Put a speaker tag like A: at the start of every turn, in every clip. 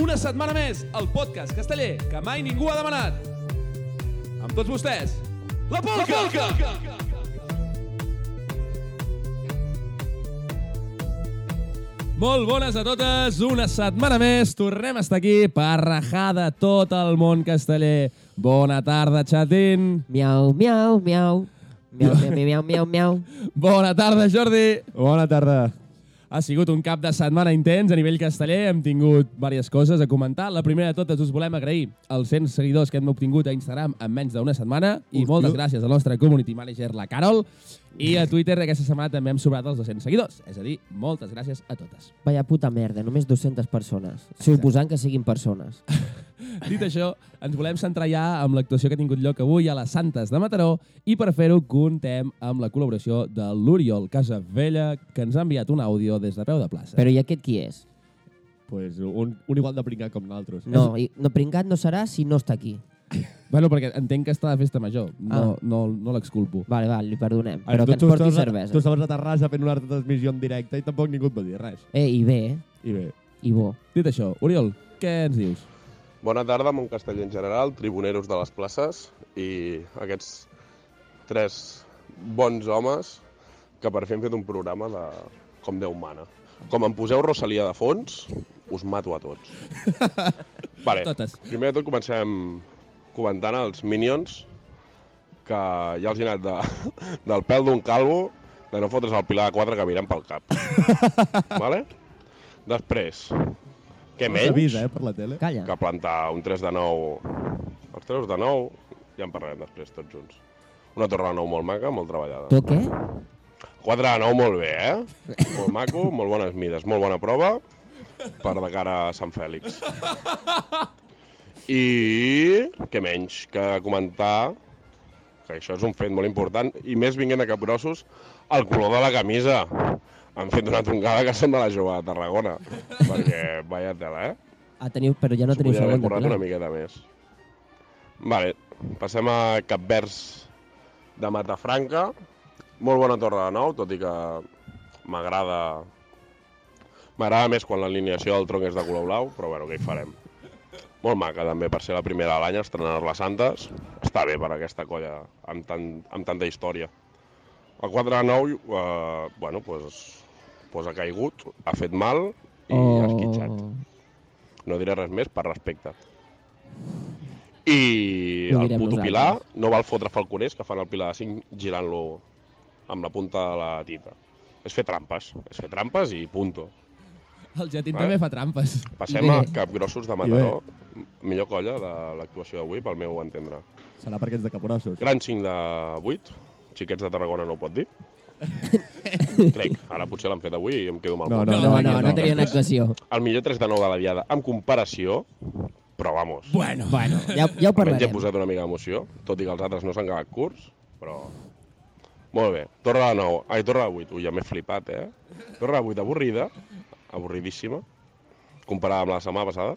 A: Una setmana més, el podcast casteller que mai ningú ha demanat. Amb tots vostès, la Polca! La Polca! Molt bones a totes, una setmana més. Tornem a estar aquí per rajar de tot el món casteller. Bona tarda, xatín.
B: Miau, miau, miau. Miau, miau, miau, miau, miau.
A: Bona tarda, Jordi.
C: Bona tarda.
A: Ha sigut un cap de setmana intens a nivell casteller. Hem tingut diverses coses a comentar. La primera de totes us volem agrair els 100 seguidors que hem obtingut a Instagram en menys d'una setmana i
C: Uf,
A: moltes
C: jo-
A: gràcies al nostre community manager, la Carol. I a Twitter aquesta setmana també hem sobrat els 200 seguidors. És a dir, moltes gràcies a totes.
B: Vaya puta merda, només 200 persones. Suposant que siguin persones.
A: Dit això, ens volem centrar ja amb l'actuació que ha tingut lloc avui a les Santes de Mataró i per fer-ho contem amb la col·laboració de l'Oriol Casavella, que ens ha enviat un àudio des de peu de plaça.
B: Però i aquest qui és?
C: Pues un, un igual de pringat com nosaltres.
B: No, i, no pringat no serà si no està aquí.
A: Bueno, perquè entenc que està de festa major. No,
B: Ah.
A: no, no l'exculpo.
B: Vale, vale, li perdonem.
C: Ara,
B: Però
C: tu-
B: que ens
C: tu
B: porti
C: estaves a- Tu
B: cervesa.
C: estaves a Terrassa fent una transmissió en directe i tampoc ningú et va dir res.
B: Eh, i bé, eh?
C: I bé,
B: I bo.
A: Dit això, Oriol, què ens dius?
D: Bona tarda, Montcastell en general, tribuneros de les places i aquests tres bons homes que per fi hem fet un programa de com Déu mana. Com em poseu Rosalia de fons, us mato a tots. vale,
A: Totes.
D: primer de tot comencem comentant els Minions, que ja els he anat de, del pèl d'un calvo de no fotre's el pilar de quatre que miren pel cap. vale? Després, què
C: s'ha
D: menys?
C: vist, eh, per la tele.
B: Calla.
D: que plantar un 3 de 9, els 3 de 9, ja en parlarem després tots junts. Una torre de 9 molt maca, molt treballada.
B: Tu què?
D: 4 de 9 molt bé, eh? Molt maco, molt bones mides, molt bona prova per de cara a Sant Fèlix. I què menys que comentar que això és un fet molt important, i més vinguent de capgrossos, el color de la camisa. Han fet una tongada que sembla la jove de Tarragona, perquè vaya tela, eh?
B: Ah, teniu, però ja no
D: S'ho
B: teniu
D: podia haver
B: segon de
D: currat
B: pla.
D: una miqueta més. Vale, passem a Capvers de Matafranca. Molt bona torre de nou, tot i que m'agrada... M'agrada més quan l'alineació del tronc és de color blau, però bueno, què hi farem? Molt maca també per ser la primera de l'any, estrenar les Santes. Està bé per aquesta colla amb, tan, amb tanta història. El 4 de 9, eh, bueno, pues, pues ha caigut, ha fet mal i oh. ha esquitxat. No diré res més per respecte. I
B: No
D: el
B: direm
D: puto
B: nosaltres.
D: Pilar no val fotre falconers que fan el Pilar de 5 girant-lo amb la punta de la tita. És fer trampes, és fer trampes i punto.
A: El Jatín
D: Vale.
A: també fa trampes.
D: Passem
B: Bé.
D: a Capgrossos de Mataró, millor colla de l'actuació d'avui, pel meu entendre.
C: Serà per aquests de caporossos.
D: Gran 5 de 8, xiquets de Tarragona no ho pot dir. Crec, ara potser l'han fet avui i em quedo mal.
C: No,
B: No, no, no, no tenien
D: Després,
B: actuació.
D: El millor 3 de 9 de la diada, en comparació, però vamos,
A: Bueno.
B: Bueno, ja, ja ho
D: Almenys he
B: parlarem.
D: posat una mica d'emoció, tot i que els altres no s'han quedat curts, però... Molt bé, torre de 9, ai, torre de 8, ui, ja m'he flipat, eh? Torre de 8 avorrida, avorridíssima, comparada amb la setmana passada.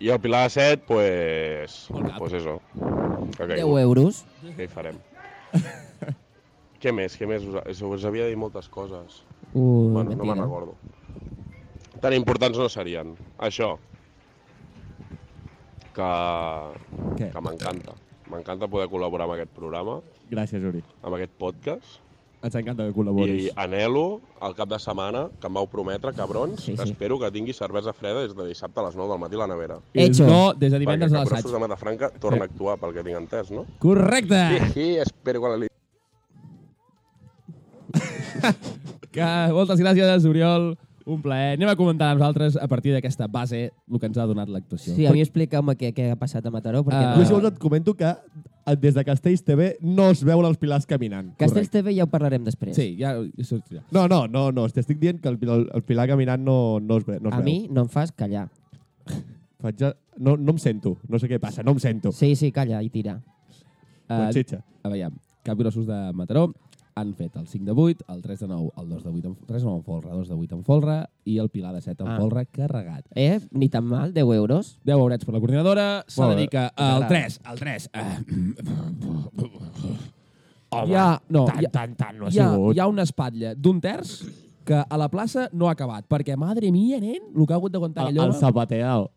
D: I el Pilar de 7, pues...
A: Molt cap.
D: Pues eso. Que
B: 10
D: caigut.
B: euros.
D: Què hi farem? què més, què més? Us, us, us havia de dir moltes coses.
B: Ui,
D: Bueno, no me'n
B: mentida.
D: recordo. Tan importants no serien. Això. Que,
C: Què?
D: que m'encanta. M'encanta poder col·laborar amb aquest programa,
C: Gràcies, Uri.
D: amb aquest podcast.
C: Ens encanta que
D: I ah,
C: col·laboris.
D: anhelo el cap de setmana que em vau prometre, cabrons,
B: Sí,
D: sí,
B: sí.
D: sí. espero que tingui cervesa freda des de dissabte a les 9 del matí a la nevera.
B: Hecho.
A: No, des de divendres
D: Perquè
A: a
D: Capgrossos
A: l'assaig.
D: de Matafranca torna a actuar, pel que tinc entès, no?
A: Correcte!
D: Sí, sí, espero que la li...
A: Que moltes gràcies, Oriol. Un plaer. Anem a comentar amb nosaltres a partir d'aquesta base el que ens ha donat l'actuació.
B: Sí, a mi explica'm què, què ha passat a Mataró, perquè...
A: Ah.
C: Jo, si vols, et comento que eh, des de Castells TV no es veuen els pilars caminant.
B: Castells TV ja ho parlarem després.
A: Sí, ja ja sortirà.
C: No, no, no, no. T'estic dient que el, el, el pilar caminant no, no es, ve- no es
B: a
C: veu.
B: mi no em fas callar.
C: Faig ja... no, no em sento. No sé què passa, no em sento.
B: Sí, sí, calla i tira.
A: Eh,
C: Conxitxa.
A: a veure, capgrossos de Mataró han fet el 5 de 8, el 3 de 9, el 2 de 8 en, 3 de 9 en folre, 2 de 8 en folre i el Pilar de 7 en
B: Ah.
A: folre carregat.
B: Eh? Ni tan mal, 10 euros.
A: 10 haurets per la coordinadora, s'ha
C: Molt
A: de
C: bé.
A: dir que eh, el
B: M'agrada.
A: 3, el 3... Eh, Home, ja, no,
C: tant,
A: hi ha-
C: tant, tant no ha
A: hi ha,
C: sigut.
A: hi ha una espatlla d'un terç que a la plaça no ha acabat, perquè, madre mia, nen, el que ha hagut d'aguantar
C: El,
A: aquell
C: el
A: home...
C: zapateado.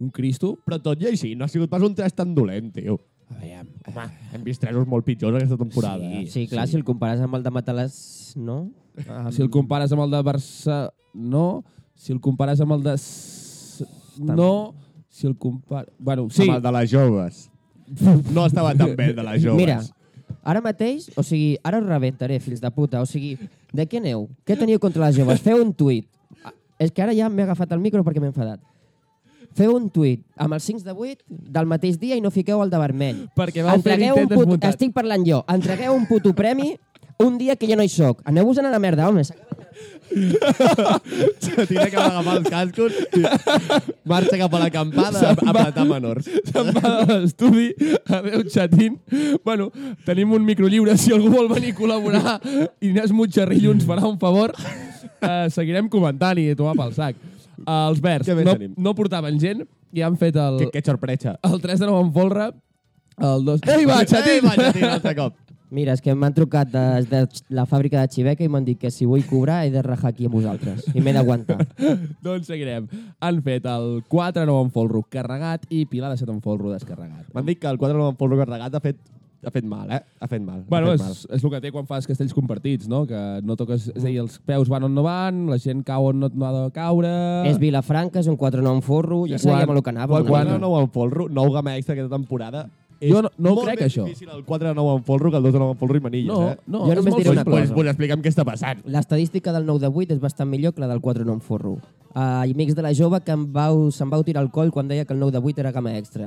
A: Un Cristo.
C: Però tot i així, no ha sigut pas un tres tan dolent, tio.
A: A veure,
C: Home, hem vist tresos molt pitjors aquesta temporada.
B: Sí,
C: eh?
B: sí, clar, sí. si el compares amb el de Matalàs, no?
C: Ah,
A: si
C: mm.
A: el compares amb el de Barça... No. Si el compares amb el de... S- No. Si el compares... Bueno, sí.
C: Amb el de les joves. No estava tan bé el de les joves.
B: Mira, ara mateix, o sigui, ara us rebentaré, fills de puta. O sigui, de què aneu? Què teniu contra les joves? Feu un tuit. Ah, És que ara ja m'he agafat el micro perquè m'he enfadat. Feu un tuit amb els 5 de 8 del mateix dia i no fiqueu el de vermell.
A: Perquè vau fer
B: Entregueu un
A: l'intent
B: puto...
A: desmuntat.
B: Estic parlant jo. Entregueu un puto premi un dia que ja no hi sóc. Aneu-vos a la merda, home.
C: Tira que va agafar els cascos, marxa cap a l'acampada a apretar menors.
A: Se'n va de l'estudi. Adéu, xatín. Bueno, tenim un micro lliure. Si algú vol venir a col·laborar, Inés Mutxarrillo ens farà un favor. Uh, seguirem comentant i tomar pel sac. Uh, els verds
C: Què més
A: no,
C: tenim?
A: no portaven gent i han fet el,
C: Que, que xorpretxa.
A: el 3 de 9 en folre, el 2... Ei, va, xatín!
C: Ei, va, xatín, altre cop.
B: Mira, és que m'han trucat des de la fàbrica de Xiveca i m'han dit que si vull cobrar he de rajar aquí amb vosaltres. I m'he d'aguantar.
A: doncs seguirem. Han fet el 4 9 en folro carregat i Pilar de 7 en folro descarregat.
C: M'han dit que el quadre no en polvo carregat ha fet, ha fet mal, eh? Ha fet mal.
A: Bueno,
C: ha fet
A: és, és el que té quan fas castells compartits, no? Que no toques... És a dir, els peus van on no van, la gent cau on no, no ha de caure...
B: És Vilafranca, és un 4-9 en forro, ja sabíem
A: Ah. Quan-
B: el que anàvem.
C: Quan,
B: una
C: quan
B: mica.
C: el 9 en polvo, 9 gama extra aquesta temporada, és
A: Jo no- no ho
C: molt
A: crec,
C: més
A: això.
C: difícil el 4 de 9 en polvo que el 2 de 9 en polvo i manilles,
A: No,
C: eh?
A: no,
B: Jo
A: és
B: només
A: molt
B: diré una
A: simple.
C: Pues,
B: cosa.
C: pues explica'm què està passant.
B: L'estadística del 9 de 8 és bastant millor que la del 4-9 en forro. Uh, I amics de la jove que em vau, se'n vau tirar el coll quan deia que el 9 de 8 era gama extra.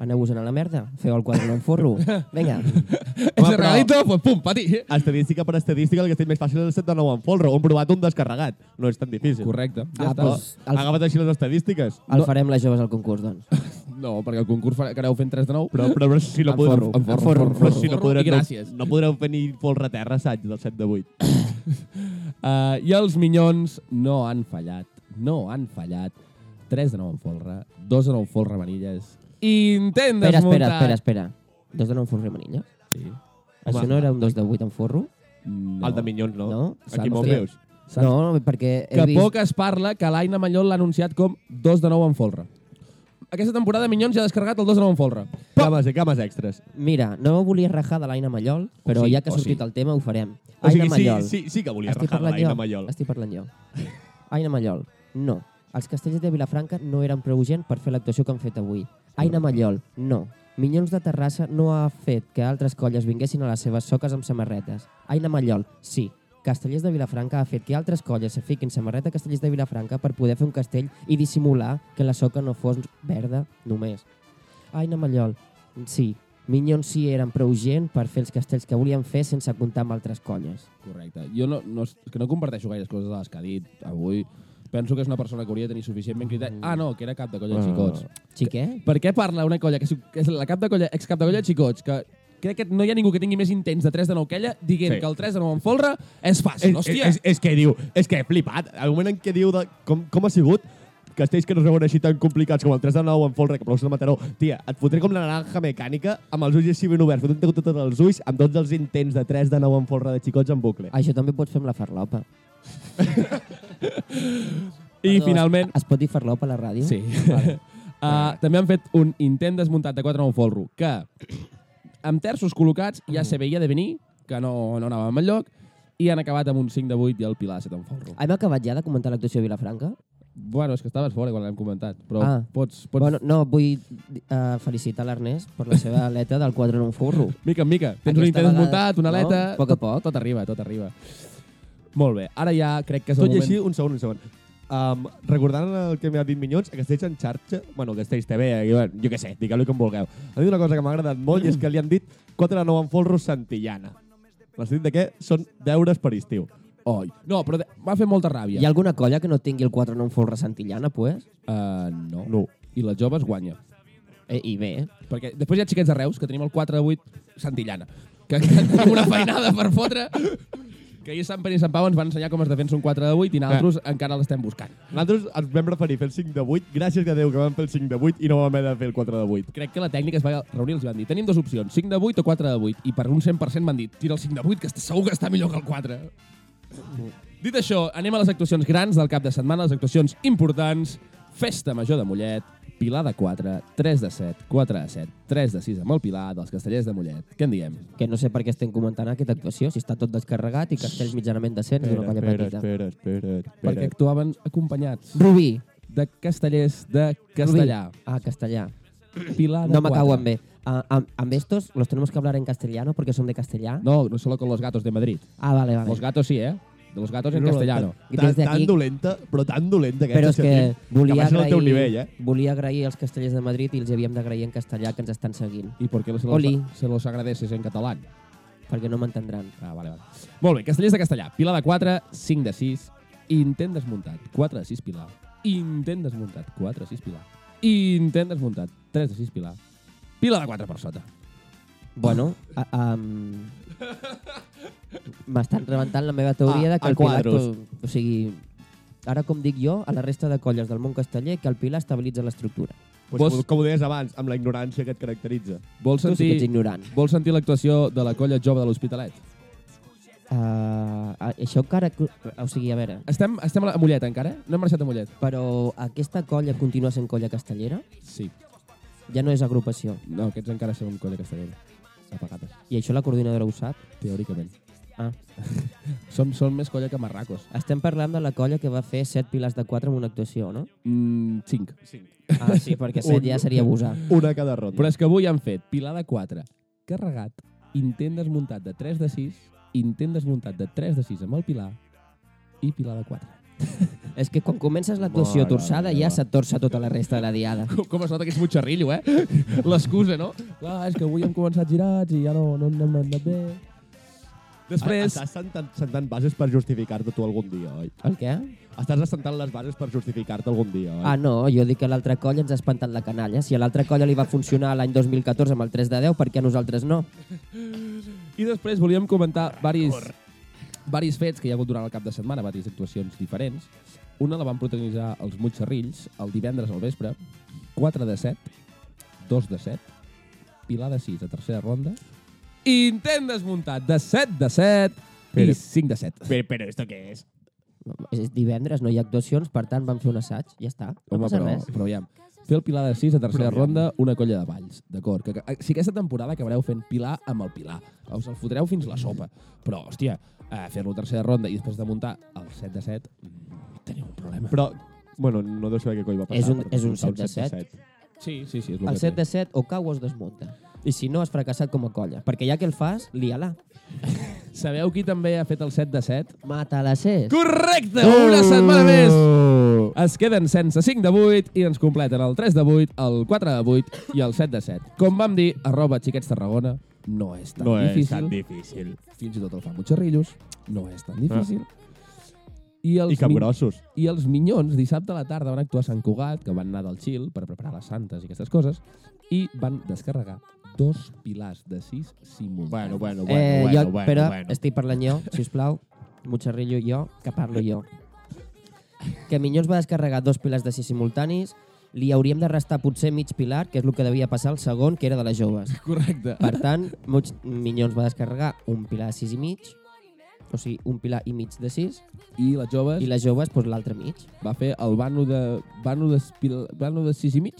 B: Aneu-vos a la merda, feu el 4-9 en forro. Vinga.
A: És
C: Home,
A: el regalito, pues pum, pa ti.
C: Estadística per estadística, el que estic més fàcil és el 7 de 9 en polvo. Un provat, un descarregat. No és tan difícil.
A: Correcte. Ja
B: Ah,
A: està.
B: doncs-
C: El... Agafa't així les estadístiques.
B: El farem les joves al concurs, doncs.
A: No, perquè el concurs farà- que aneu fent 3 de 9.
C: Però, però, però si no
A: Em
C: podreu...
A: forro, em forro,
C: Però
A: em forro,
C: si no
A: forro
C: podreu,
A: i gràcies.
C: No, no podreu fer ni folre a terra, assaig, del 7 de 8.
A: Uh, I els minyons no han fallat, no han fallat. 3 de 9 en folre, 2 de 9 en folre manilles. Intent
B: Espera, espera,
A: desmuntat.
B: espera, espera. Dos de 9 en forro i manilla?
A: Sí.
B: Això no era un 2 de 8 en forro?
A: No.
C: No. El de Minyons, no?
B: No.
C: Aquí me'l
A: Hòstia.
C: veus.
A: Saps?
B: No, perquè he
A: Que
B: vist...
A: poc es parla que l'Aina Mallol l'ha anunciat com 2 de 9 en folre. Aquesta temporada Minyons ja ha descarregat el 2 de 9 en folre.
C: Cames, eh, cames extres.
B: Mira, no volia rajar de l'Aina Mallol, però
A: sí,
B: ja que ha
A: o
B: sortit el tema ho farem.
C: O sigui,
B: Aina
C: sí,
B: Mallol.
C: sí, sí que volia
B: Estic
C: rajar
B: parlant
C: l'Aina
B: jo.
C: Mallol.
B: Estic parlant jo. Aina Mallol, no. Els castells de Vilafranca no eren prou gent per fer l'actuació que han fet avui. Aina Mallol, no. Minyons de Terrassa no ha fet que altres colles vinguessin a les seves soques amb samarretes. Aina Mallol, sí. Castellers de Vilafranca ha fet que altres colles se fiquin samarreta a Castellers de Vilafranca per poder fer un castell i dissimular que la soca no fos verda només. Aina Mallol, sí. Minyons sí eren prou gent per fer els castells que volien fer sense comptar amb altres colles.
A: Correcte. Jo no, no, és que no comparteixo gaires coses de les que ha dit avui. Penso que és una persona que hauria de tenir suficientment criteri. Ah, no, que era cap de colla de xicots.
B: Xiquet?
A: Per què parla una colla que és- que és la cap de colla, ex-cap de colla de xicots, que crec que no hi ha ningú que tingui més intents de 3 de 9 que ella, dient
C: Sí.
A: que el 3 de 9 en folre és fàcil,
C: És,
A: hòstia.
C: és, és, que diu, és que he flipat. El moment en què diu de, com, com ha sigut castells que no es veuen així tan complicats com el 3 de 9 en folre, que plou de Mataró. Tia, et fotré com la naranja mecànica amb els ulls així ben oberts. Fotré tots els ulls amb tots els intents de 3 de 9 en folre de xicots en bucle.
B: Ah, Això també pots fer amb la farlopa.
A: eh, I finalment...
B: Es pot dir farlopa a la ràdio?
A: Sí. uh, també han fet un intent desmuntat de 4 9 folro, que amb terços col·locats ja se veia de venir, que no, no anàvem enlloc, i han acabat amb un 5 de 8 i el Pilar de 7 en folro.
B: Hem acabat ja de comentar l'actuació de Vilafranca?
A: Bueno, és que estaves fora quan l'hem comentat, però ah.
B: Ah.
A: pots... pots
B: Bueno, no, vull uh, felicitar l'Ernest per la seva aleta del quadre en un forro.
A: Mica en mica. Tens un
B: Aquesta
A: intent
B: vegada,
A: desmuntat, una
B: no?
A: aleta...
B: A poc a
A: tot-
B: poc.
A: Tot arriba, tot arriba. Molt bé, ara ja crec que és el
C: Tot i
A: moment...
C: així, un segon, un segon. Um, recordant el que m'ha dit Minyons, a Castells en xarxa, bueno, Castells TV, eh, bueno, jo què sé, digueu-li com vulgueu. Ha dit una cosa que m'ha agradat molt i és que li han dit 4 de 9 en folro Santillana. M'has dit de què? Són deures per estiu.
A: Oi. No, però de- m'ha fet molta
B: Hi ha
A: ràbia.
B: alguna colla que no tingui el quadre en un forro a Santillana, pues?
A: Uh, no.
C: No.
A: I les joves guanya.
B: Eh, I bé,
A: Perquè després hi ha xiquets de Reus, que tenim el 4 de 8 Santillana, que, que tenim una feinada per fotre, que ahir Sant Pere i Sant Pau ens van ensenyar com es defensa un 4 de 8 i nosaltres encara l'estem buscant.
C: Nosaltres ens vam referir a fer el 5 de 8, gràcies a Déu que vam fer el 5 de 8 i no vam haver de fer el 4 de 8.
A: Crec que la tècnica es va reunir, els van dir tenim dues opcions, 5 de 8 o 4 de 8, i per un 100% m'han dit tira el 5 de 8, que està segur que està millor que el 4. Dit això, anem a les actuacions grans del cap de setmana, les actuacions importants. Festa Major de Mollet, Pilar de 4, 3 de 7, 4 de 7, 3 de 6 amb el Pilar dels Castellers de Mollet. Què en diem?
B: Que no sé per què estem comentant aquesta actuació, si està tot descarregat i castells mitjanament decents d'una colla
C: espera,
B: petita.
C: espera, espera,
B: eh?
A: Perquè
C: espera.
A: actuaven acompanyats
B: Rubí.
A: de castellers de castellà.
B: Rubí. Ah, castellà.
A: Pilar de
B: No me
A: quatre.
B: cago en bé. Ah, am- amb estos los tenemos que hablar en castellano porque son de castellà.
A: No, no solo con los gatos de Madrid.
B: Ah, vale, vale.
A: Los gatos sí, eh? De los gatos en
C: No, no,
A: castellano.
B: I
C: Tan,
B: des d'aquí-
C: tan dolenta, però tan dolenta aquesta.
B: Però és que volia
C: Que baixa el
B: agrair,
C: teu nivell, eh?
B: volia agrair als castellers de Madrid i els havíem d'agrair en castellà que ens estan seguint,
A: ¿Y por qué se
B: Oli.
A: los, se los agradeces en catalán?
B: perquè no m'entendran.
A: Ah, vale, vale. Molt bé, castellers de castellà. Pilar de 4, 5 de 6. Intent desmuntat. 4 de 6, Pilar. Intent desmuntat. 4 de 6, Pilar. Intent desmuntat. 3 de 6, Pilar. Pilar de 4 per sota.
B: Bueno, a- am- m'estan rebentant la meva teoria
C: Ah,
B: de que
C: a
B: el Pilar...
C: quadros.
B: to- O sigui, ara com dic jo, a la resta de colles del món casteller, que el Pilar estabilitza l'estructura.
C: Pues,
A: Vos-
C: com, com ho deies abans, amb la ignorància que et caracteritza.
A: Vols
B: Tu sí que ets
A: sentir,
B: ignorant.
A: vols sentir l'actuació de la colla jove de l'Hospitalet?
B: Uh, això encara... O sigui, a veure,
A: Estem, estem a la- a Mollet encara, eh? No hem marxat a Mollet?
B: però aquesta colla continua sent colla castellera?
A: Sí.
B: Ja no és agrupació.
A: No, aquests encara són colla castellera. A vegades,
B: I això la coordinadora ho sap?
A: teòricament.
B: Ah.
A: Som, som més colla que marracos.
B: Estem parlant de la colla que va fer 7 pilars de 4 en una actuació, no?
A: Mm, 5.
B: Ah, sí, perquè 7 ja seria abusar.
C: Una cada ronda.
A: Però és que avui han fet pilar de 4, carregat, intent desmuntat de 3 de 6, intent desmuntat de 3 de 6 amb el pilar i pilar de 4.
B: És que quan comences l'actuació
A: Mare
B: torçada
A: meva.
B: ja se't torça tota la resta de la diada.
A: Com es nota que és mutxarrillo, eh? L'excusa, no? Clar, és que avui hem començat girats i ja no, no hem anat bé. Després,
C: Estàs sentant, sentant bases per justificar-te tu algun dia, oi?
B: El què?
C: Estàs assentant les bases per justificar-te algun dia, oi?
B: Ah, no, jo dic que l'altra colla ens ha espantat la canalla. Si a l'altra colla li va funcionar l'any 2014 amb el 3 de 10, per què a nosaltres no?
A: i després volíem comentar varis, varis fets que hi ha hagut durant el cap de setmana, varies actuacions diferents. Una la van protagonitzar els mutxarrills el divendres al vespre, 4 de 7, 2 de 7, Pilar de 6 a tercera ronda, i intent desmuntat de 7 de 7
C: Espera.
A: i 5 de 7.
C: Però, però esto què és?
B: És divendres, no hi ha actuacions, per tant van fer un assaig, ja està. No
A: Home,
B: passa
A: però,
B: res.
A: però aviam, fer el Pilar de 6 a tercera
C: Però aviam.
A: ronda, una colla de valls, d'acord. Que, que, si aquesta temporada acabareu fent Pilar amb el Pilar, us el fotreu fins la sopa. Però, hòstia, eh, fer-lo a tercera ronda i després de muntar el 7 de 7, mm, teniu un problema.
C: Però, bueno, no deu saber què coi va passar.
B: És un-
C: perquè
B: és un
C: va
B: 7
C: passar
B: de
C: 7.
A: Sí, sí, sí, és el,
B: El
A: que
B: 7
A: té.
B: de 7 o cau o es desmunta. I si no, has fracassat com a colla. Perquè ja que el fas, lia-la.
A: Sabeu qui també ha fet el 7 de 7?
B: Mata la 6.
A: Correcte! Oh! Una setmana més! Es queden sense 5 de 8 i ens completen el 3 de 8, el 4 de 8 i el 7 de 7. Com vam dir, arroba xiquets Tarragona no és tan
C: No és
A: difícil.
C: tan difícil. Ah.
A: fins i tot el fan mutxarrillos, no és tan difícil. I els,
C: I cap
A: mi-
C: grossos.
A: I els Minyons dissabte a la tarda van actuar a Sant Cugat, que van anar del Xil per preparar les santes i aquestes coses, i van descarregar dos pilars de sis simultanis.
C: Bueno, bueno, bueno,
B: eh,
C: bueno,
B: jo,
C: bueno,
B: però
C: bueno.
B: estic parlant jo, si us plau, Mutxarrillo i jo, que parlo jo. Que Minyons va descarregar dos pilars de sis simultanis, li hauríem de restar potser mig pilar, que és el que devia passar al segon, que era de les joves.
A: Correcte.
B: Per tant, Muts- Minyons va descarregar un pilar de sis i mig, o sigui, un pilar i mig de sis,
A: I les joves
B: i les joves, doncs l'altre mig.
A: va fer el vano de, vano de, pil- vano de sis i mig.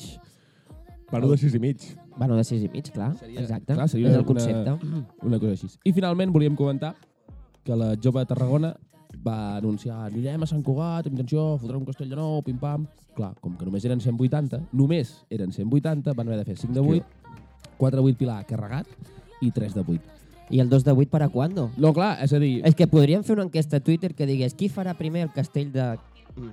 C: Parlo de 6 i mig.
B: Bueno, de sis i mig, clar,
A: Seria-
B: exacte.
A: clar, seria
B: és el
A: una-
B: concepte.
A: Una cosa així. I finalment volíem comentar que la jove de Tarragona va anunciar anirem a Sant Cugat, amb intenció, fotrem un castell de nou, pim-pam. Clar, com que només eren 180, només eren 180, van haver de fer 5 de 8, 4 de 8 Pilar carregat i 3 de 8.
B: I el 2 de 8 per a quando?
A: No, clar, és a dir,
B: És que podríem fer una enquesta a Twitter que digués qui farà primer el castell de... Mm.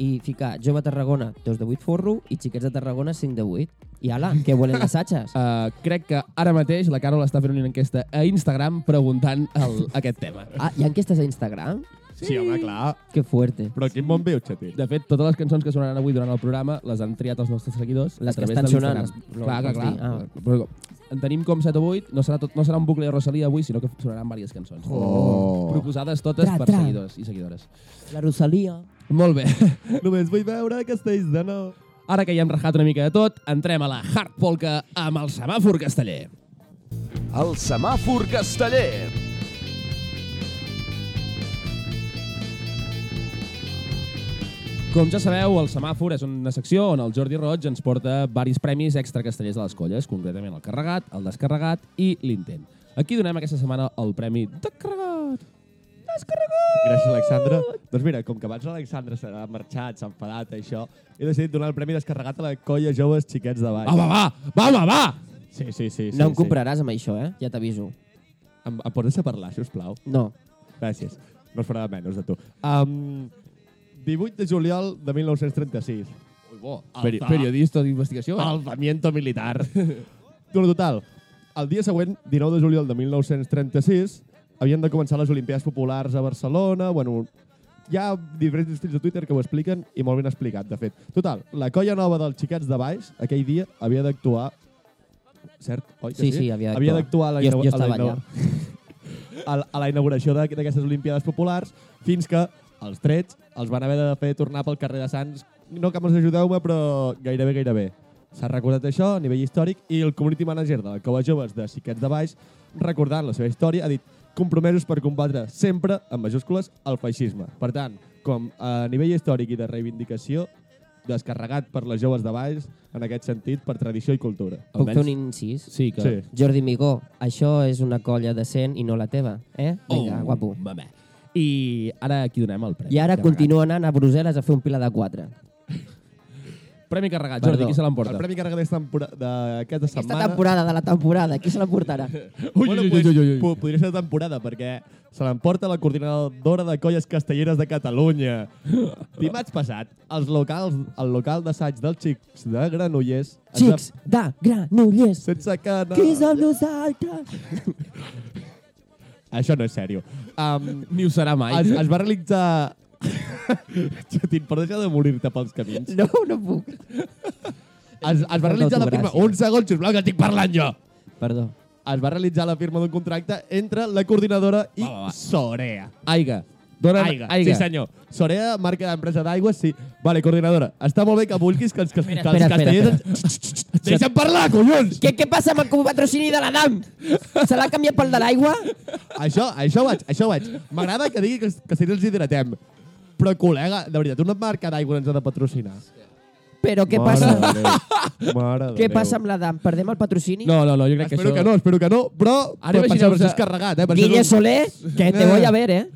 B: I ficar Jove Tarragona 2 de 8 forro i Xiquets de Tarragona 5 de 8. I ala, que volen les satxes.
A: eh, crec que ara mateix la Carol està fent una enquesta a Instagram preguntant el, aquest tema.
B: Ah, hi ha enquestes a Instagram?
C: Sí, home, clar.
B: Que fuerte.
C: Però quin bon viu, Xatín.
A: De fet, totes les cançons que sonaran avui durant el programa les han triat els nostres seguidors.
B: Les
A: a través
B: que estan
A: de l'Instagram.
B: sonant, no,
A: clar, clar,
B: vols
A: clar.
B: dir?
A: Ah. Però, en tenim com 7 o 8, no serà, tot, no serà un bucle de Rosalía avui, sinó que sonaran diverses cançons.
C: Oh.
A: Proposades totes
B: Tra,
A: per
B: tra.
A: seguidors i seguidores.
B: La Rosalia.
A: Molt bé.
C: Només vull veure castells de nou.
A: Ara que ja hem rajat una mica de tot, entrem a la Hard Polka amb el semàfor casteller.
E: El semàfor casteller.
A: Com ja sabeu, el semàfor és una secció on el Jordi Roig ens porta varis premis extra castellers de les colles, concretament el carregat, el descarregat i l'intent. Aquí donem aquesta setmana el premi descarregat. Descarregat!
C: Gràcies, Alexandra. Doncs mira, com que abans l'Alexandra s'ha marxat, s'ha enfadat, això, he decidit donar el premi descarregat a la colla joves xiquets de baix.
A: Ah, Va, va, va! Va, va, va!
C: Sí, sí, sí. sí
B: No em
C: sí.
B: compraràs amb això, eh? Ja t'aviso.
C: Em, em pots deixar parlar, si us plau?
B: No.
C: Gràcies. No es farà de menys de tu. Um, 18 de juliol de 1936. Ui, bo.
A: Peri periodista d'investigació. eh?
C: Alzamiento militar. Bueno, total, el dia següent, 19 de juliol de 1936, havien de començar les Olimpiades Populars a Barcelona, bueno, hi ha diferents estils de Twitter que ho expliquen i molt ben explicat, de fet. Total, la colla nova dels xiquets de baix, aquell dia, havia d'actuar... Cert, oi? que
B: Sí, sí, havia d'actuar.
C: Havia d'actuar a la
B: Jo- jo
C: inau- a la
B: estava
C: inau- a la- a la inauguració d'aqu- d'aquestes Olimpiades Populars, fins que els trets els van haver de fer tornar pel carrer de Sants. No que me'ls ajudeu-me, però gairebé, gairebé. S'ha recordat això a nivell històric i el community manager de la Cova Joves de Xiquets de Baix, recordant la seva història, ha dit compromesos per combatre sempre, en majúscules, el feixisme. Per tant, com a nivell històric i de reivindicació, descarregat per les joves de Baix, en aquest sentit, per tradició i cultura.
B: Puc fer
A: Almenys-
B: un incís?
A: Sí, que...
C: Sí.
B: Jordi Migó, això és una colla decent i no la teva, eh? Vinga,
A: Oh,
B: guapo.
A: Va, bé. I ara aquí donem el premi.
B: I ara
A: Carregat.
B: continua anant a Brussel·les a fer un pilar de quatre.
A: Premi carregat, Jordi,
B: Perdó.
A: qui se
C: El
A: l'emporta?
C: premi carregat d'aquesta tempora- d'aquesta
B: Aquesta
C: setmana...
B: temporada de la temporada, qui se l'emportarà?
A: Ui, ui, ui, ui, ui, ui.
C: po- Podria ser temporada, perquè se l'emporta la coordinadora de colles castelleres de Catalunya. Dimarts passat, els locals, el local d'assaig dels xics de Granollers... ens va-
B: Xics de Granollers,
C: Sense que... No,
B: que és amb nosaltres?
C: Això no és sèrio. Um,
A: Ni ho serà mai.
C: es, es va realitzar... Xatín, per deixar de morir-te pels camins.
B: No, no puc.
C: Es, es va realitzar
B: tu,
C: la firma...
B: gràcies.
C: Un segon, sisplau, que estic parlant jo!
B: Perdó.
C: Es va realitzar la firma d'un contracte entre la coordinadora i
A: Va, va, va.
C: Sorea.
A: Aiga. Dóna'm
C: Aiga.
A: Aiga.
C: Sí, senyor. Sorea, marca d'empresa d'aigua, sí. Vale, coordinadora, està molt bé que vulguis que els, que, que els
B: espera,
C: castellers... Deixa'm parlar, collons!
B: Què, què passa amb el patrocini de la DAM? Se l'ha canviat pel de l'aigua?
C: això, això ho vaig, això ho vaig. M'agrada que digui que els castellers els hidratem. Però, col·lega, de veritat, una marca d'aigua ens ha de patrocinar.
B: Però què
C: Mare
B: passa?
C: de Déu. Mare de
B: Què
C: Déu.
B: passa amb la DAM? Perdem el patrocini?
A: No, no, no, jo crec
C: Espero
A: que
C: que
A: això...
C: no, espero que no, però...
A: Ara
C: però
A: imagineu-vos-
C: pensava, és carregat, eh? Per això
B: Guille
C: és un-
B: Soler, que te voy a ver, eh?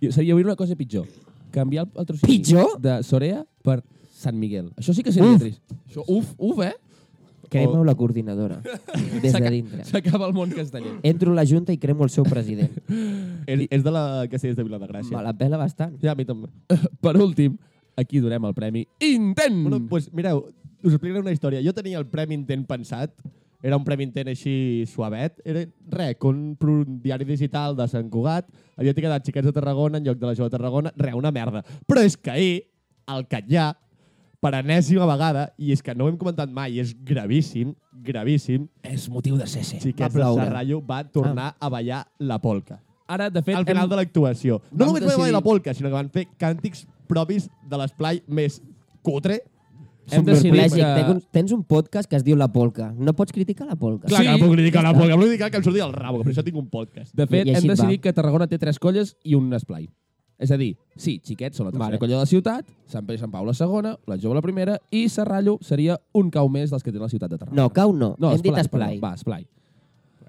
A: Jo- Seria obrir una cosa pitjor. Canviar el patrocini
B: Pitjor?
A: de Sorea per Sant Miguel. Això sí que seria
B: Uf.
A: trist. Això, uf, uf, eh?
B: Crema-ho la coordinadora, des de dintre.
A: S'acaba el món casteller.
B: Entro a la Junta i cremo el seu president.
C: És, és de la castellers de Viladegràcia.
B: Me la pela bastant.
C: Ja, a mi també.
A: Per últim, aquí donem el premi Intent.
C: Bueno,
B: Mm.
C: pues, mireu, us explicaré una història. Jo tenia el Premi Intent pensat, era un Premi Intent així suavet, era res, que un, pro- un diari digital de Sant Cugat havia quedat xiquets de Tarragona en lloc de la jove de Tarragona, res, una merda. Però és que ahir, el Catllà, per enèsima vegada, i és que no ho hem comentat mai, és gravíssim, gravíssim,
A: és motiu de cese.
C: Xiquets
B: Eh, Va
C: de
B: ploure.
C: Serrallo va tornar ah. a ballar la polca.
A: Ara, de fet,
C: Al final
A: hem-
C: de l'actuació. No
A: vam
C: només va ballar
A: decidir-
C: la polca, sinó que van fer càntics propis de l'esplai més cutre
A: hem decidit
B: Lègic,
A: que...
B: tens un- tens un podcast que es diu La Polca. No pots criticar La Polca.
C: Clar que
A: Sí,
C: la puc criticar,
B: ja
C: la
B: està.
C: puc, la puc criticar, que em surti del rabo, que per això tinc un podcast.
A: De fet,
B: I
A: hem
B: així va.
A: decidit que Tarragona té tres colles i un esplai. És a dir, sí, Xiquets són la tercera
B: Vale.
A: colla de la ciutat, Sant Pere i Sant Pau la segona, la Jove la primera i Serrallo seria un cau més dels que té la ciutat de Tarragona.
B: No, cau no. Hem dit esplai.
A: perdó. Va, esplai.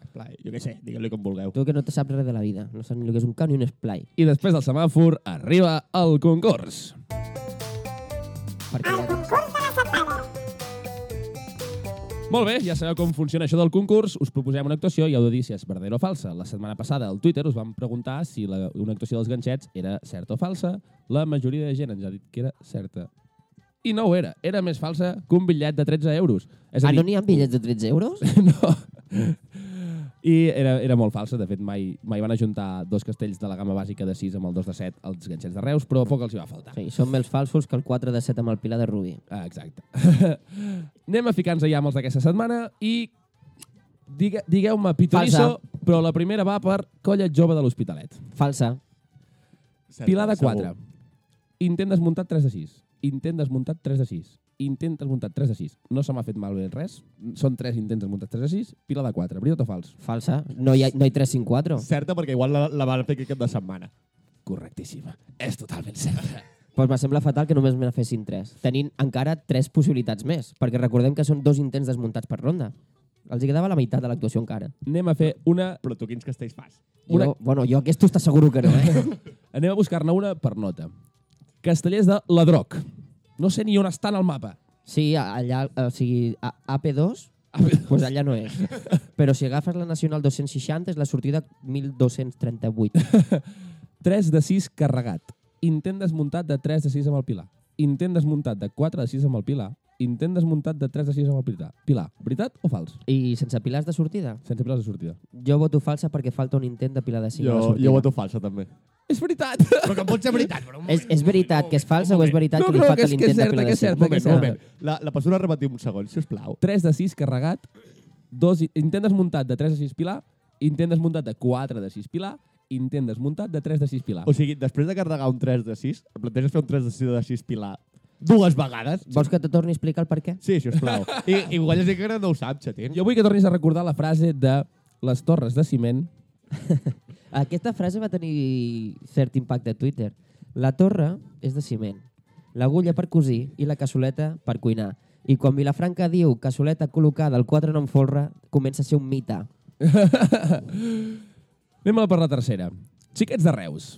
C: Esplai, jo què sé, digueu-li com vulgueu.
B: Tu que no te saps res de la vida. No saps ni el que és un cau ni un esplai.
A: I després del semàfor arriba el concurs.
B: Perquè ja-
A: Molt bé, ja sabeu com funciona això del concurs. Us proposem una actuació i heu de dir si és verdadera o falsa. La setmana passada al Twitter us vam preguntar si la, una actuació dels ganxets era certa o falsa. La majoria de gent ens ha dit que era certa. I no ho era. Era més falsa que un bitllet de 13 euros. És
B: Ah, no n'hi ha bitllets de 13 euros?
A: no. I era, era molt falsa, de fet mai, mai van ajuntar dos castells de la gamma bàsica de 6 amb el 2 de 7 als ganxets de Reus, però poc els hi va faltar.
B: Sí, són més falsos que el 4 de 7 amb el Pilar de Rubí.
A: Ah, exacte. Anem a ficar-nos ja amb els d'aquesta setmana i digue, digueu-me pitonisso, però la primera va per Colla Jove de l'Hospitalet.
B: Falsa.
A: Pilar de 4. Intent desmuntat 3 de 6. Intent desmuntat 3 de 6. Intent desmuntat 3 de 6. No se m'ha fet mal bé res. Són 3 intents desmuntats 3 de 6. Pilar de 4. Veritat o fals?
B: Falsa. No hi ha, no hi ha 3, 5, 4.
C: Certa, perquè igual la, la van fer aquest cap de setmana.
A: Correctíssima. És totalment certa.
B: Doncs me sembla fatal que només me fessin tres, tenint encara tres possibilitats més, perquè recordem que són dos intents desmuntats per ronda. Els hi quedava la meitat de l'actuació encara.
A: Anem a fer una...
C: Però tu quins castells fas?
A: Una-
B: Jo, bueno, jo aquestos t'asseguro que no, eh?
A: Anem a buscar-ne una per nota. Castellers de Ladroc. No sé ni on estan al mapa.
B: Sí, allà, o sigui, a AP2,
A: AP2.
B: pues allà no és. Però si agafes la Nacional 260 és la sortida 1238.
A: 3 de 6 carregat. Intent desmuntat de 3 de 6 amb el Pilar. Intent desmuntat de 4 de 6 amb el Pilar. Intent desmuntat de 3 de 6 amb el Pilar. Pilar, veritat o fals?
B: I sense pilars de sortida?
A: Sense pilars de sortida.
B: Jo voto falsa perquè falta un intent de pilar de 5 a la
C: Jo,
B: sortida.
C: jo voto falsa, també.
A: És veritat!
C: Però que pot ser veritat, però...
B: És, és veritat que és falsa o és veritat
A: No,
B: que li
A: no, que
B: falta
A: és- que és
B: l'intent de
A: certa,
B: pilar
A: que
B: de
A: és
B: 5?
A: certa, que és certa.
C: La, la persona repetiu un segon, si us plau.
A: 3 de 6 carregat, dos, intent desmuntat de 3 de 6 Pilar, intent desmuntat de 4 de 6 Pilar, intent desmuntat de 3 de 6 Pilar.
C: O sigui, després de carregar un 3 de 6, et planteges fer un 3 de 6 de 6 pilar dues vegades?
B: Vols que te torni a explicar el per què?
C: Sí, si us plau. I, igual és que ara no ho sap, xatín.
A: Jo vull que tornis a recordar la frase de les torres de ciment.
B: Aquesta frase va tenir cert impacte a Twitter. La torre és de ciment, l'agulla per cosir i la cassoleta per cuinar. I quan Vilafranca diu cassoleta col·locada al quadre no em folra, comença a ser un mite.
A: Anem a per la tercera. Xiquets de Reus.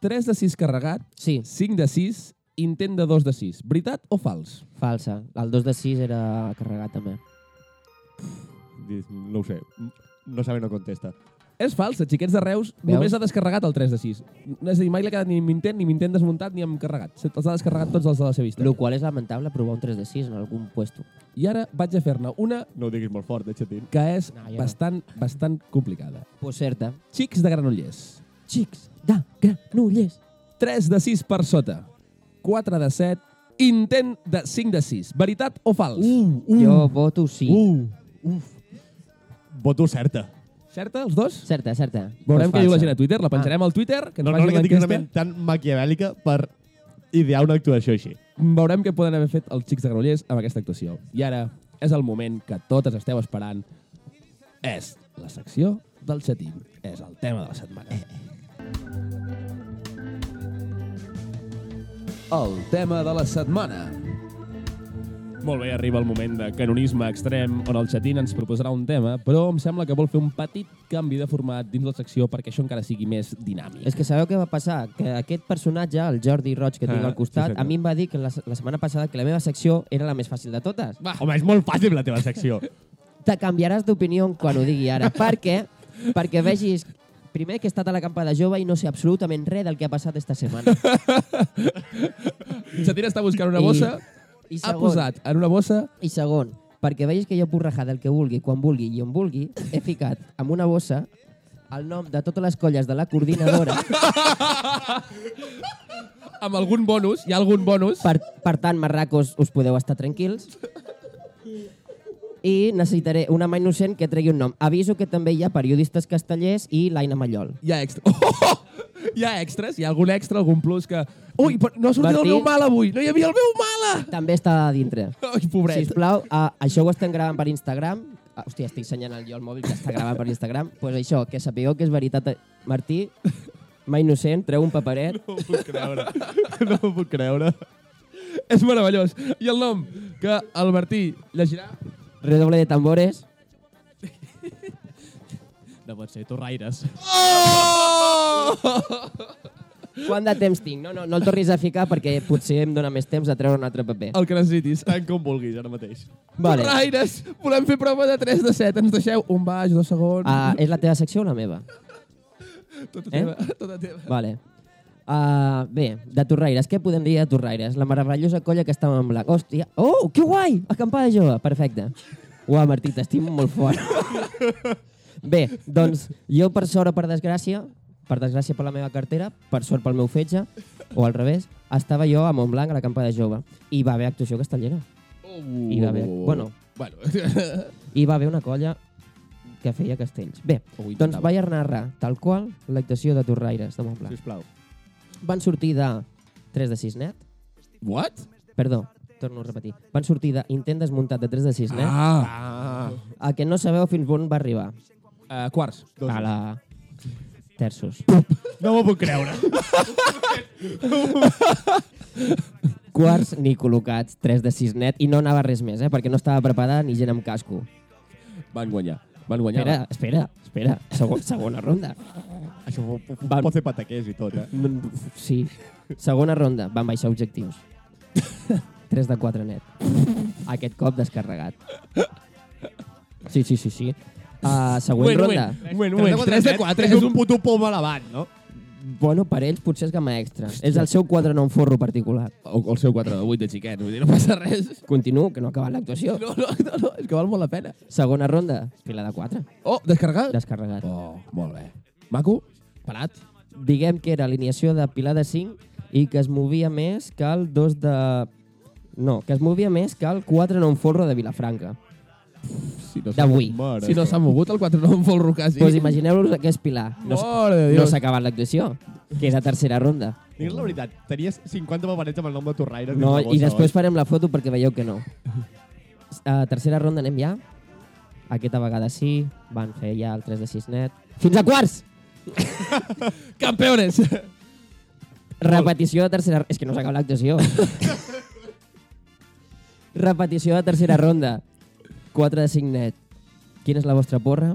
A: 3 de 6 carregat,
B: Sí,
A: 5 de 6, intent de 2 de 6. Veritat o fals?
B: falsa. El 2 de 6 era carregat també.
C: No ho sé. No sabe, no contesta.
A: És fals, els xiquets de Reus
B: Veus?
A: només ha descarregat el 3 de 6. No és a dir, mai li ha quedat ni amb intent, ni amb intent desmuntat, ni amb carregat. Se- Els ha descarregat tots els de la seva vista.
B: Lo qual és lamentable provar un 3 de 6 en algun puesto.
A: I ara vaig a fer-ne una
C: No ho diguis molt fort, eh, xatín.
A: que és
B: No, jo no.
A: bastant, bastant complicada.
B: Pues certa.
A: Xics de Granollers.
B: Xics de Granollers.
A: 3 de 6 per sota. 4 de 7. Intent de 5 de 6. Veritat o fals?
C: Uh,
A: mm.
C: uh,
B: Jo voto sí.
C: uh, uf. Voto certa.
A: Certa, els dos? Doncs Ah.
B: Certa, certa.
A: Veurem què
B: Pues
A: diu la
B: falsa.
A: gent a Twitter. La penjarem al Twitter, que ens
C: No,
A: no,
C: no
A: faci
C: li
A: una
C: dic una
A: enquesta.
C: ment tan maquiavèlica per idear una actuació així.
A: Veurem què poden haver fet els xics de Granollers amb aquesta actuació. I ara és el moment que totes esteu esperant. És la secció del xatín. És el tema de la setmana. El tema de la setmana. Molt bé, arriba el moment de canonisme extrem, on el xatín ens proposarà un tema, però em sembla que vol fer un petit canvi de format dins la secció perquè això encara sigui més dinàmic.
B: És que sabeu què va passar? Que aquest personatge, el Jordi Roig que tinc
C: Ah,
B: al costat,
C: sí, senyor.
B: a mi em va dir que la, la setmana passada que la meva secció era la més fàcil de totes.
A: Ah.
C: Va. Home, és molt fàcil la teva secció.
B: Te canviaràs d'opinió quan ho digui ara. per què? Perquè vegis primer que he estat a la campada jove i no sé absolutament res del que ha passat esta setmana.
A: El xatín està buscant una
B: I-
A: bossa,
B: I
A: ha
B: segon,
A: posat en una bossa
B: I segon, perquè vegis que jo puc rajar del que vulgui, quan vulgui i on vulgui, he ficat en una bossa el nom de totes les colles de la coordinadora.
A: amb algun bonus, hi ha algun bonus.
B: Per, per tant, marracos, us podeu estar tranquils. I necessitaré una mà innocent que tregui un nom. Aviso que també hi ha periodistes castellers i l'Aina Mallol.
A: Hi ha extra. Oh, oh, oh! Hi ha extras, hi ha algun extra, algun plus que... Ui, però no ha sortit
B: Martí.
A: el meu mal avui, no hi havia el meu mala!
B: També està a dintre.
A: Ai, pobret.
B: Sisplau, a, això ho estem gravant per Instagram. Ah, Hòstia, estic senyant jo el mòbil que està gravant per Instagram. Doncs pues això, que sapigueu que és veritat. eh, Martí, mà innocent, treu un paperet.
C: No ho puc creure. No ho puc creure.
A: És meravellós. I el nom que el Martí llegirà...
B: Redoble de tambores.
A: No pot ser, Torraires. Oh!
B: Quant de temps tinc? No, no, no el tornis a ficar perquè potser em dóna més temps a treure un altre paper.
A: El que necessitis.
C: Tant com vulguis, ara mateix.
B: Vale.
A: Torraires, volem fer prova de 3 de 7. Ens deixeu un baix, dos segons...
B: Uh, és la teva secció o la meva?
A: Tota
B: eh?
A: teva, tota teva.
B: Vale. Uh, bé, de Torraires. Què podem dir de Torraires? La meravellosa colla que estava en blanc. Hòstia. Oh, que guai! Acampada jove. Perfecte. Uau, Martí, t'estimo molt fort. bé, doncs jo, per sort o per desgràcia, per desgràcia per la meva cartera, per sort pel meu fetge, o al revés, estava jo a Montblanc a la campada jove. I va haver actuació castellera.
A: Uh,
B: I va haver... Bueno,
A: Bueno.
B: hi va haver una colla que feia castells. Bé,
A: Ho
B: doncs
A: intentava.
B: vaig a narrar, tal qual, l'actuació de Torraires de Montblanc
C: Sisplau.
B: van sortir de 3 de 6 net,
A: What?
B: perdó, torno a repetir, van sortir d'intent desmuntat de 3 de 6 net,
A: Ah.
C: Ah.
B: a que no sabeu fins on va arribar.
A: Uh, eh, quarts.
C: Dos.
B: A la... terços.
C: No m'ho puc creure.
B: Quarts ni col·locats, 3 de 6 net, i no anava res més, eh? perquè no estava preparada ni gent amb casco.
A: Van guanyar. Van guanyar.
B: Espera, espera, espera, Segon, segona ronda.
C: Això ho, ho,
B: Va.
C: pot fer pataquers i tot, eh?
B: Sí, segona ronda, van baixar objectius. 3 de 4 net. Aquest cop descarregat. Sí, sí, sí, sí. Uh, següent
A: Bueno,
B: ronda.
A: bueno. Un moment, un moment. 3 de 4
C: eh? és un puto pom elevat, no?
B: Bueno, per ells potser és gamma extra. És el seu quadre no un forro particular.
A: O, o el seu 4 de 8 de xiquet. Vull dir, no passa res.
B: Continuo, que no ha acabat l'actuació.
A: No, no, no, no, és que val molt la pena.
B: Segona ronda, fila de 4.
A: Oh, descarregat?
B: Descarregat.
A: Oh, molt bé. Maco? Parat?
B: Diguem que era alineació de Pilar de 5 i que es movia més que el 2 de... No, que es movia més que el 4 no un forro de Vilafranca.
A: Si no s'ha-
B: D'avui.
C: Mare.
A: Si no s'ha mogut el 4 no em folro quasi.
B: Doncs pues imagineu-vos que és Pilar. No, s-
A: Mare de
B: no
A: Déu.
B: s'ha acabat l'actuació, que és la tercera ronda.
C: Digues la veritat, tenies 50 paperets amb el nom de Torraire. dins
B: No, eh.
C: la
B: I
C: bossa,
B: després
C: oi?
B: farem la foto perquè veieu que no. A tercera ronda anem ja. Aquesta vegada sí, van fer ja el 3 de 6 net. Fins a quarts!
A: Campeones!
B: Repetició de tercera... És que no s'acaba l'actuació. Repetició de tercera ronda. 4 de 5 net. Quina és la vostra porra?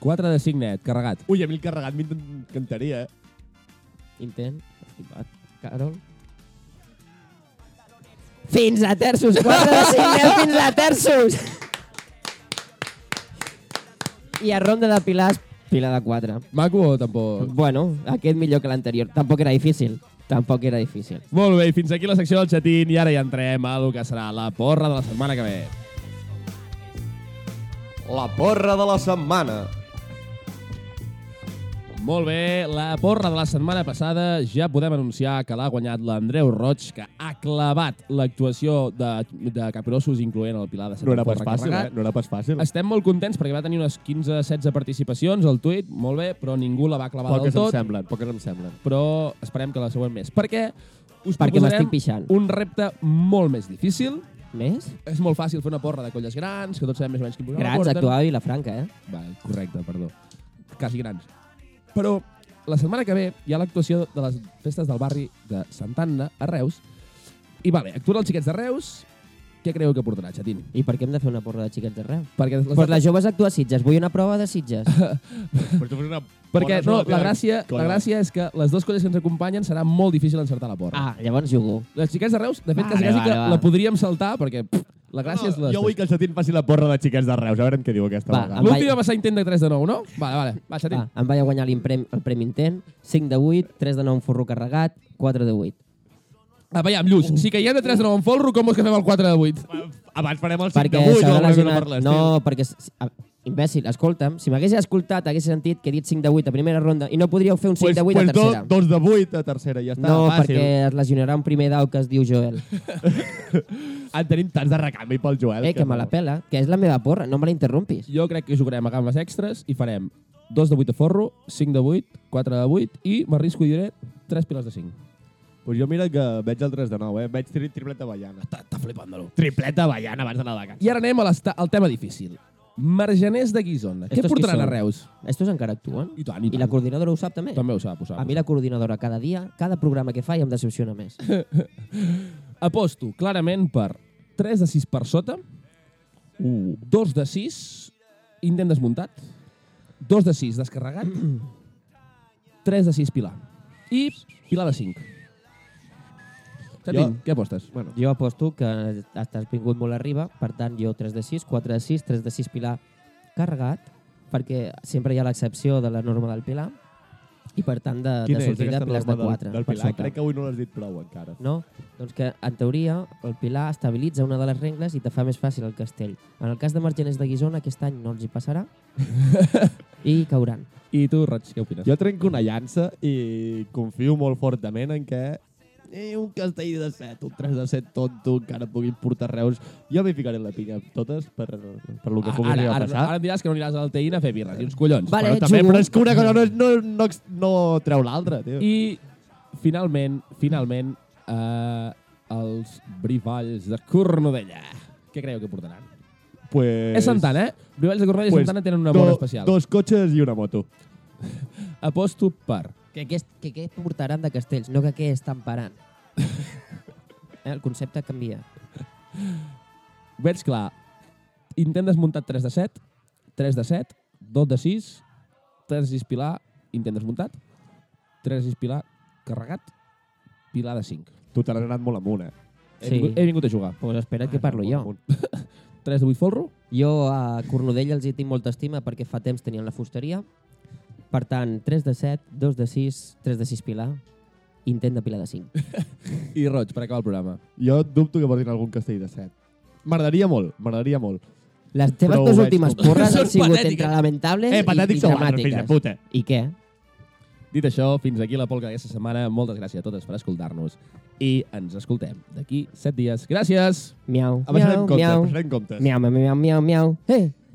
A: 4 de 5 net, carregat.
C: Ui, a mi el carregat m'encantaria, eh?
B: Intent. Estimat. Carol. Fins a terços. 4 de 5 net fins a terços. I a ronda de pilars, pila de 4.
A: Maco o tampoc?
B: Bueno, aquest millor que l'anterior. Tampoc era difícil. Tampoc era difícil.
A: Molt bé, i fins aquí la secció del xatín i ara ja entrem a lo que serà la porra de la setmana que ve.
E: La porra de la setmana.
A: Molt bé, la porra de la setmana passada ja podem anunciar que l'ha guanyat l'Andreu Roig, que ha clavat l'actuació de, de Capirossos, incloent el Pilar de Sant
C: No era
A: Porra
C: pas fàcil, eh?
A: Carregat.
C: No era pas fàcil.
A: Estem molt contents perquè va tenir unes 15-16 participacions al tuit, molt bé, però ningú la va clavar
C: Poques
A: del
C: em
A: tot,
C: semblen, poques em semblen.
A: però esperem que la següent més. Perquè us
B: Perquè
A: proposarem
B: m'estic pixant.
A: un repte molt més difícil.
B: Més?
A: És molt fàcil fer una porra de colles grans, que tots sabem més o menys quin programa
B: Grans,
A: porten.
B: actuava a Vilafranca, eh?
A: Va, correcte, perdó. Quasi grans. Però la setmana que ve hi ha l'actuació de les festes del barri de Sant Anna, a Reus. I vale, actuen els xiquets de Reus. Què creieu que portarà, Xatín?
B: I per què hem de fer una porra de xiquets de Reus?
A: Perquè, les,
B: Pues les joves actua a Sitges. Vull una prova de Sitges.
C: Però tu fes una...
A: perquè
C: porra
A: no,
C: sobre
A: la
C: teva
A: gràcia, la
C: colla.
A: gràcia és que les dues colles que ens acompanyen serà molt difícil encertar la porra.
B: Ah, llavors jugo.
A: Les xiquets de Reus, de fet,
B: Vale,
A: quasi, quasi
B: vale,
A: que
B: vale.
A: la podríem saltar, perquè pff, la gràcia és...
C: No,
A: Les...
C: jo vull que el Satín faci la porra de xiquets de Reus, a veure què diu aquesta
B: Va,
C: vegada.
B: amb-
A: L'última va ser intent de 3 de 9, no? Vale, vale. Va, Xatín.
B: Ah, em vaig a guanyar l'imprem- el Premi Intent. 5 de 8, 3 de 9 un forro carregat, 4 de 8.
A: Ah, veiem, Lluís,
B: Uh.
A: si caiem de 3 de 9 en folro, com vols que fem el 4 de 8?
C: Abans farem el 5
B: Perquè
C: de 8 o
B: s'haurà
C: alguna cosa per
B: lesionat...
C: l'estil.
B: No, perquè... s- a- Imbècil, escolta'm, si m'hagués escoltat hagués sentit que he dit 5 de 8 a primera ronda i no podríeu fer un 5
C: Pues-
B: de 8
C: pues
B: a tercera.
C: Dos, dos de 8 a tercera, ja està,
B: no,
C: fàcil.
B: perquè es lesionarà un primer dau que es diu Joel.
C: En tenim tants de recanvi pel Joel.
B: eh, que me la pela, que és la meva porra, no me la interrompis.
A: Jo crec que jugarem a gammes extres i farem 2 de 8 de forro, 5 de 8, 4 de 8 i m'arrisco i diré 3 piles de 5.
C: Pues jo mira que veig el 3 de 9, eh? Veig tri tripleta ballana.
A: Està flipant-lo.
C: Tripleta ballana abans d'anar a la
A: I ara anem a l'esta- al tema difícil. Margeners de Guisona. Què
B: Estos qui
A: portaran a
B: són?
A: Reus?
B: Estos encara actuen?
A: I tant, i Ah,
B: I la
A: tant.
B: coordinadora ho sap també?
A: També ho sap, ho sap.
B: A mi la coordinadora cada dia, cada programa que fa ja em decepciona més.
A: Aposto clarament per 3 de 6 per sota, 2 de 6, intent desmuntat, 2 de 6 descarregat, 3 de 6 pilar i pilar de 5. Xatín, què apostes?
C: Bueno,
B: Jo aposto que estàs vingut molt arriba, per tant jo 3 de 6, 4 de 6, 3 de 6 pilar carregat, perquè sempre hi ha l'excepció de la norma del pilar, i per tant de, de sortida pilars de 4.
C: del, del Pilar? Crec que avui no l'has dit prou encara.
B: No? Doncs que, en teoria, el pilar estabilitza una de les regles i te fa més fàcil el castell. En el cas de Margeners de Guisona, aquest any no els hi passarà i cauran.
A: I tu, Roig, què opines?
C: Jo trenco una llança i confio molt fortament en que eh, un castell de 7, un 3 de 7 tonto, encara puguin portar Reus. Jo m'hi ficaré la pinya amb totes per, per lo que pugui
A: Ah, ara,
C: arribar a
A: ara,
C: passar.
A: ara em diràs que no aniràs a l'Alteïna a fer birres, i uns collons.
B: Vale,
C: però, també,
B: jugo.
C: però és que una cosa no, no, no, no treu l'altra, tio. I...
A: I, finalment, finalment, eh, els brivalls de Cornudella. Què creieu que portaran? eh?
C: Pues, Eh,
A: És Santana, eh? Brivalls de Cornudella i Santana tenen una
C: do-
A: bona especial.
C: Dos cotxes i una moto.
A: aposto per...
B: Que aquest, que aquest portaran de castells, no que què estan parant. eh, el concepte canvia.
A: Veig clar, intent desmuntar 3 de 7, 3 de 7, 2 de 6, 3 de 6 pilar, intent desmuntat, 3 de 6 pilar carregat, pilar de 5.
C: Tu te l'has anat molt amunt, eh?
A: He,
B: Sí.
A: vingut, he vingut a jugar.
B: Pues espera't que parlo jo.
A: 3 de 8 forro,
B: Jo a Cornudella els hi tinc molta estima perquè fa temps tenien la fusteria. Per tant, 3 de 7, 2 de 6, 3 de 6 pilar, intent de pilar de 5.
A: i roig per acabar el programa.
C: Jo dubto que portin algun castell de set. M'agradaria molt, m'agradaria molt.
B: Les teves
C: Però ho
B: dues
C: veig
B: últimes
C: com-
B: porres
A: Són
B: han sigut
A: patètiques.
B: entre lamentables
C: Eh,
B: i,
C: patètics
B: i
C: o altres, fills de
B: dramàtiques.
C: puta.
B: I què?
A: Dit això, fins aquí la polca d'aquesta setmana. Moltes gràcies a totes per escoltar-nos i ens escoltem d'aquí 7 dies. Gràcies!
B: Miau,
C: Abaixarem
B: miau,
C: comptes,
B: miau.
C: abaixarem comptes.
B: Miau, miau, miau, miau, miau. Eh!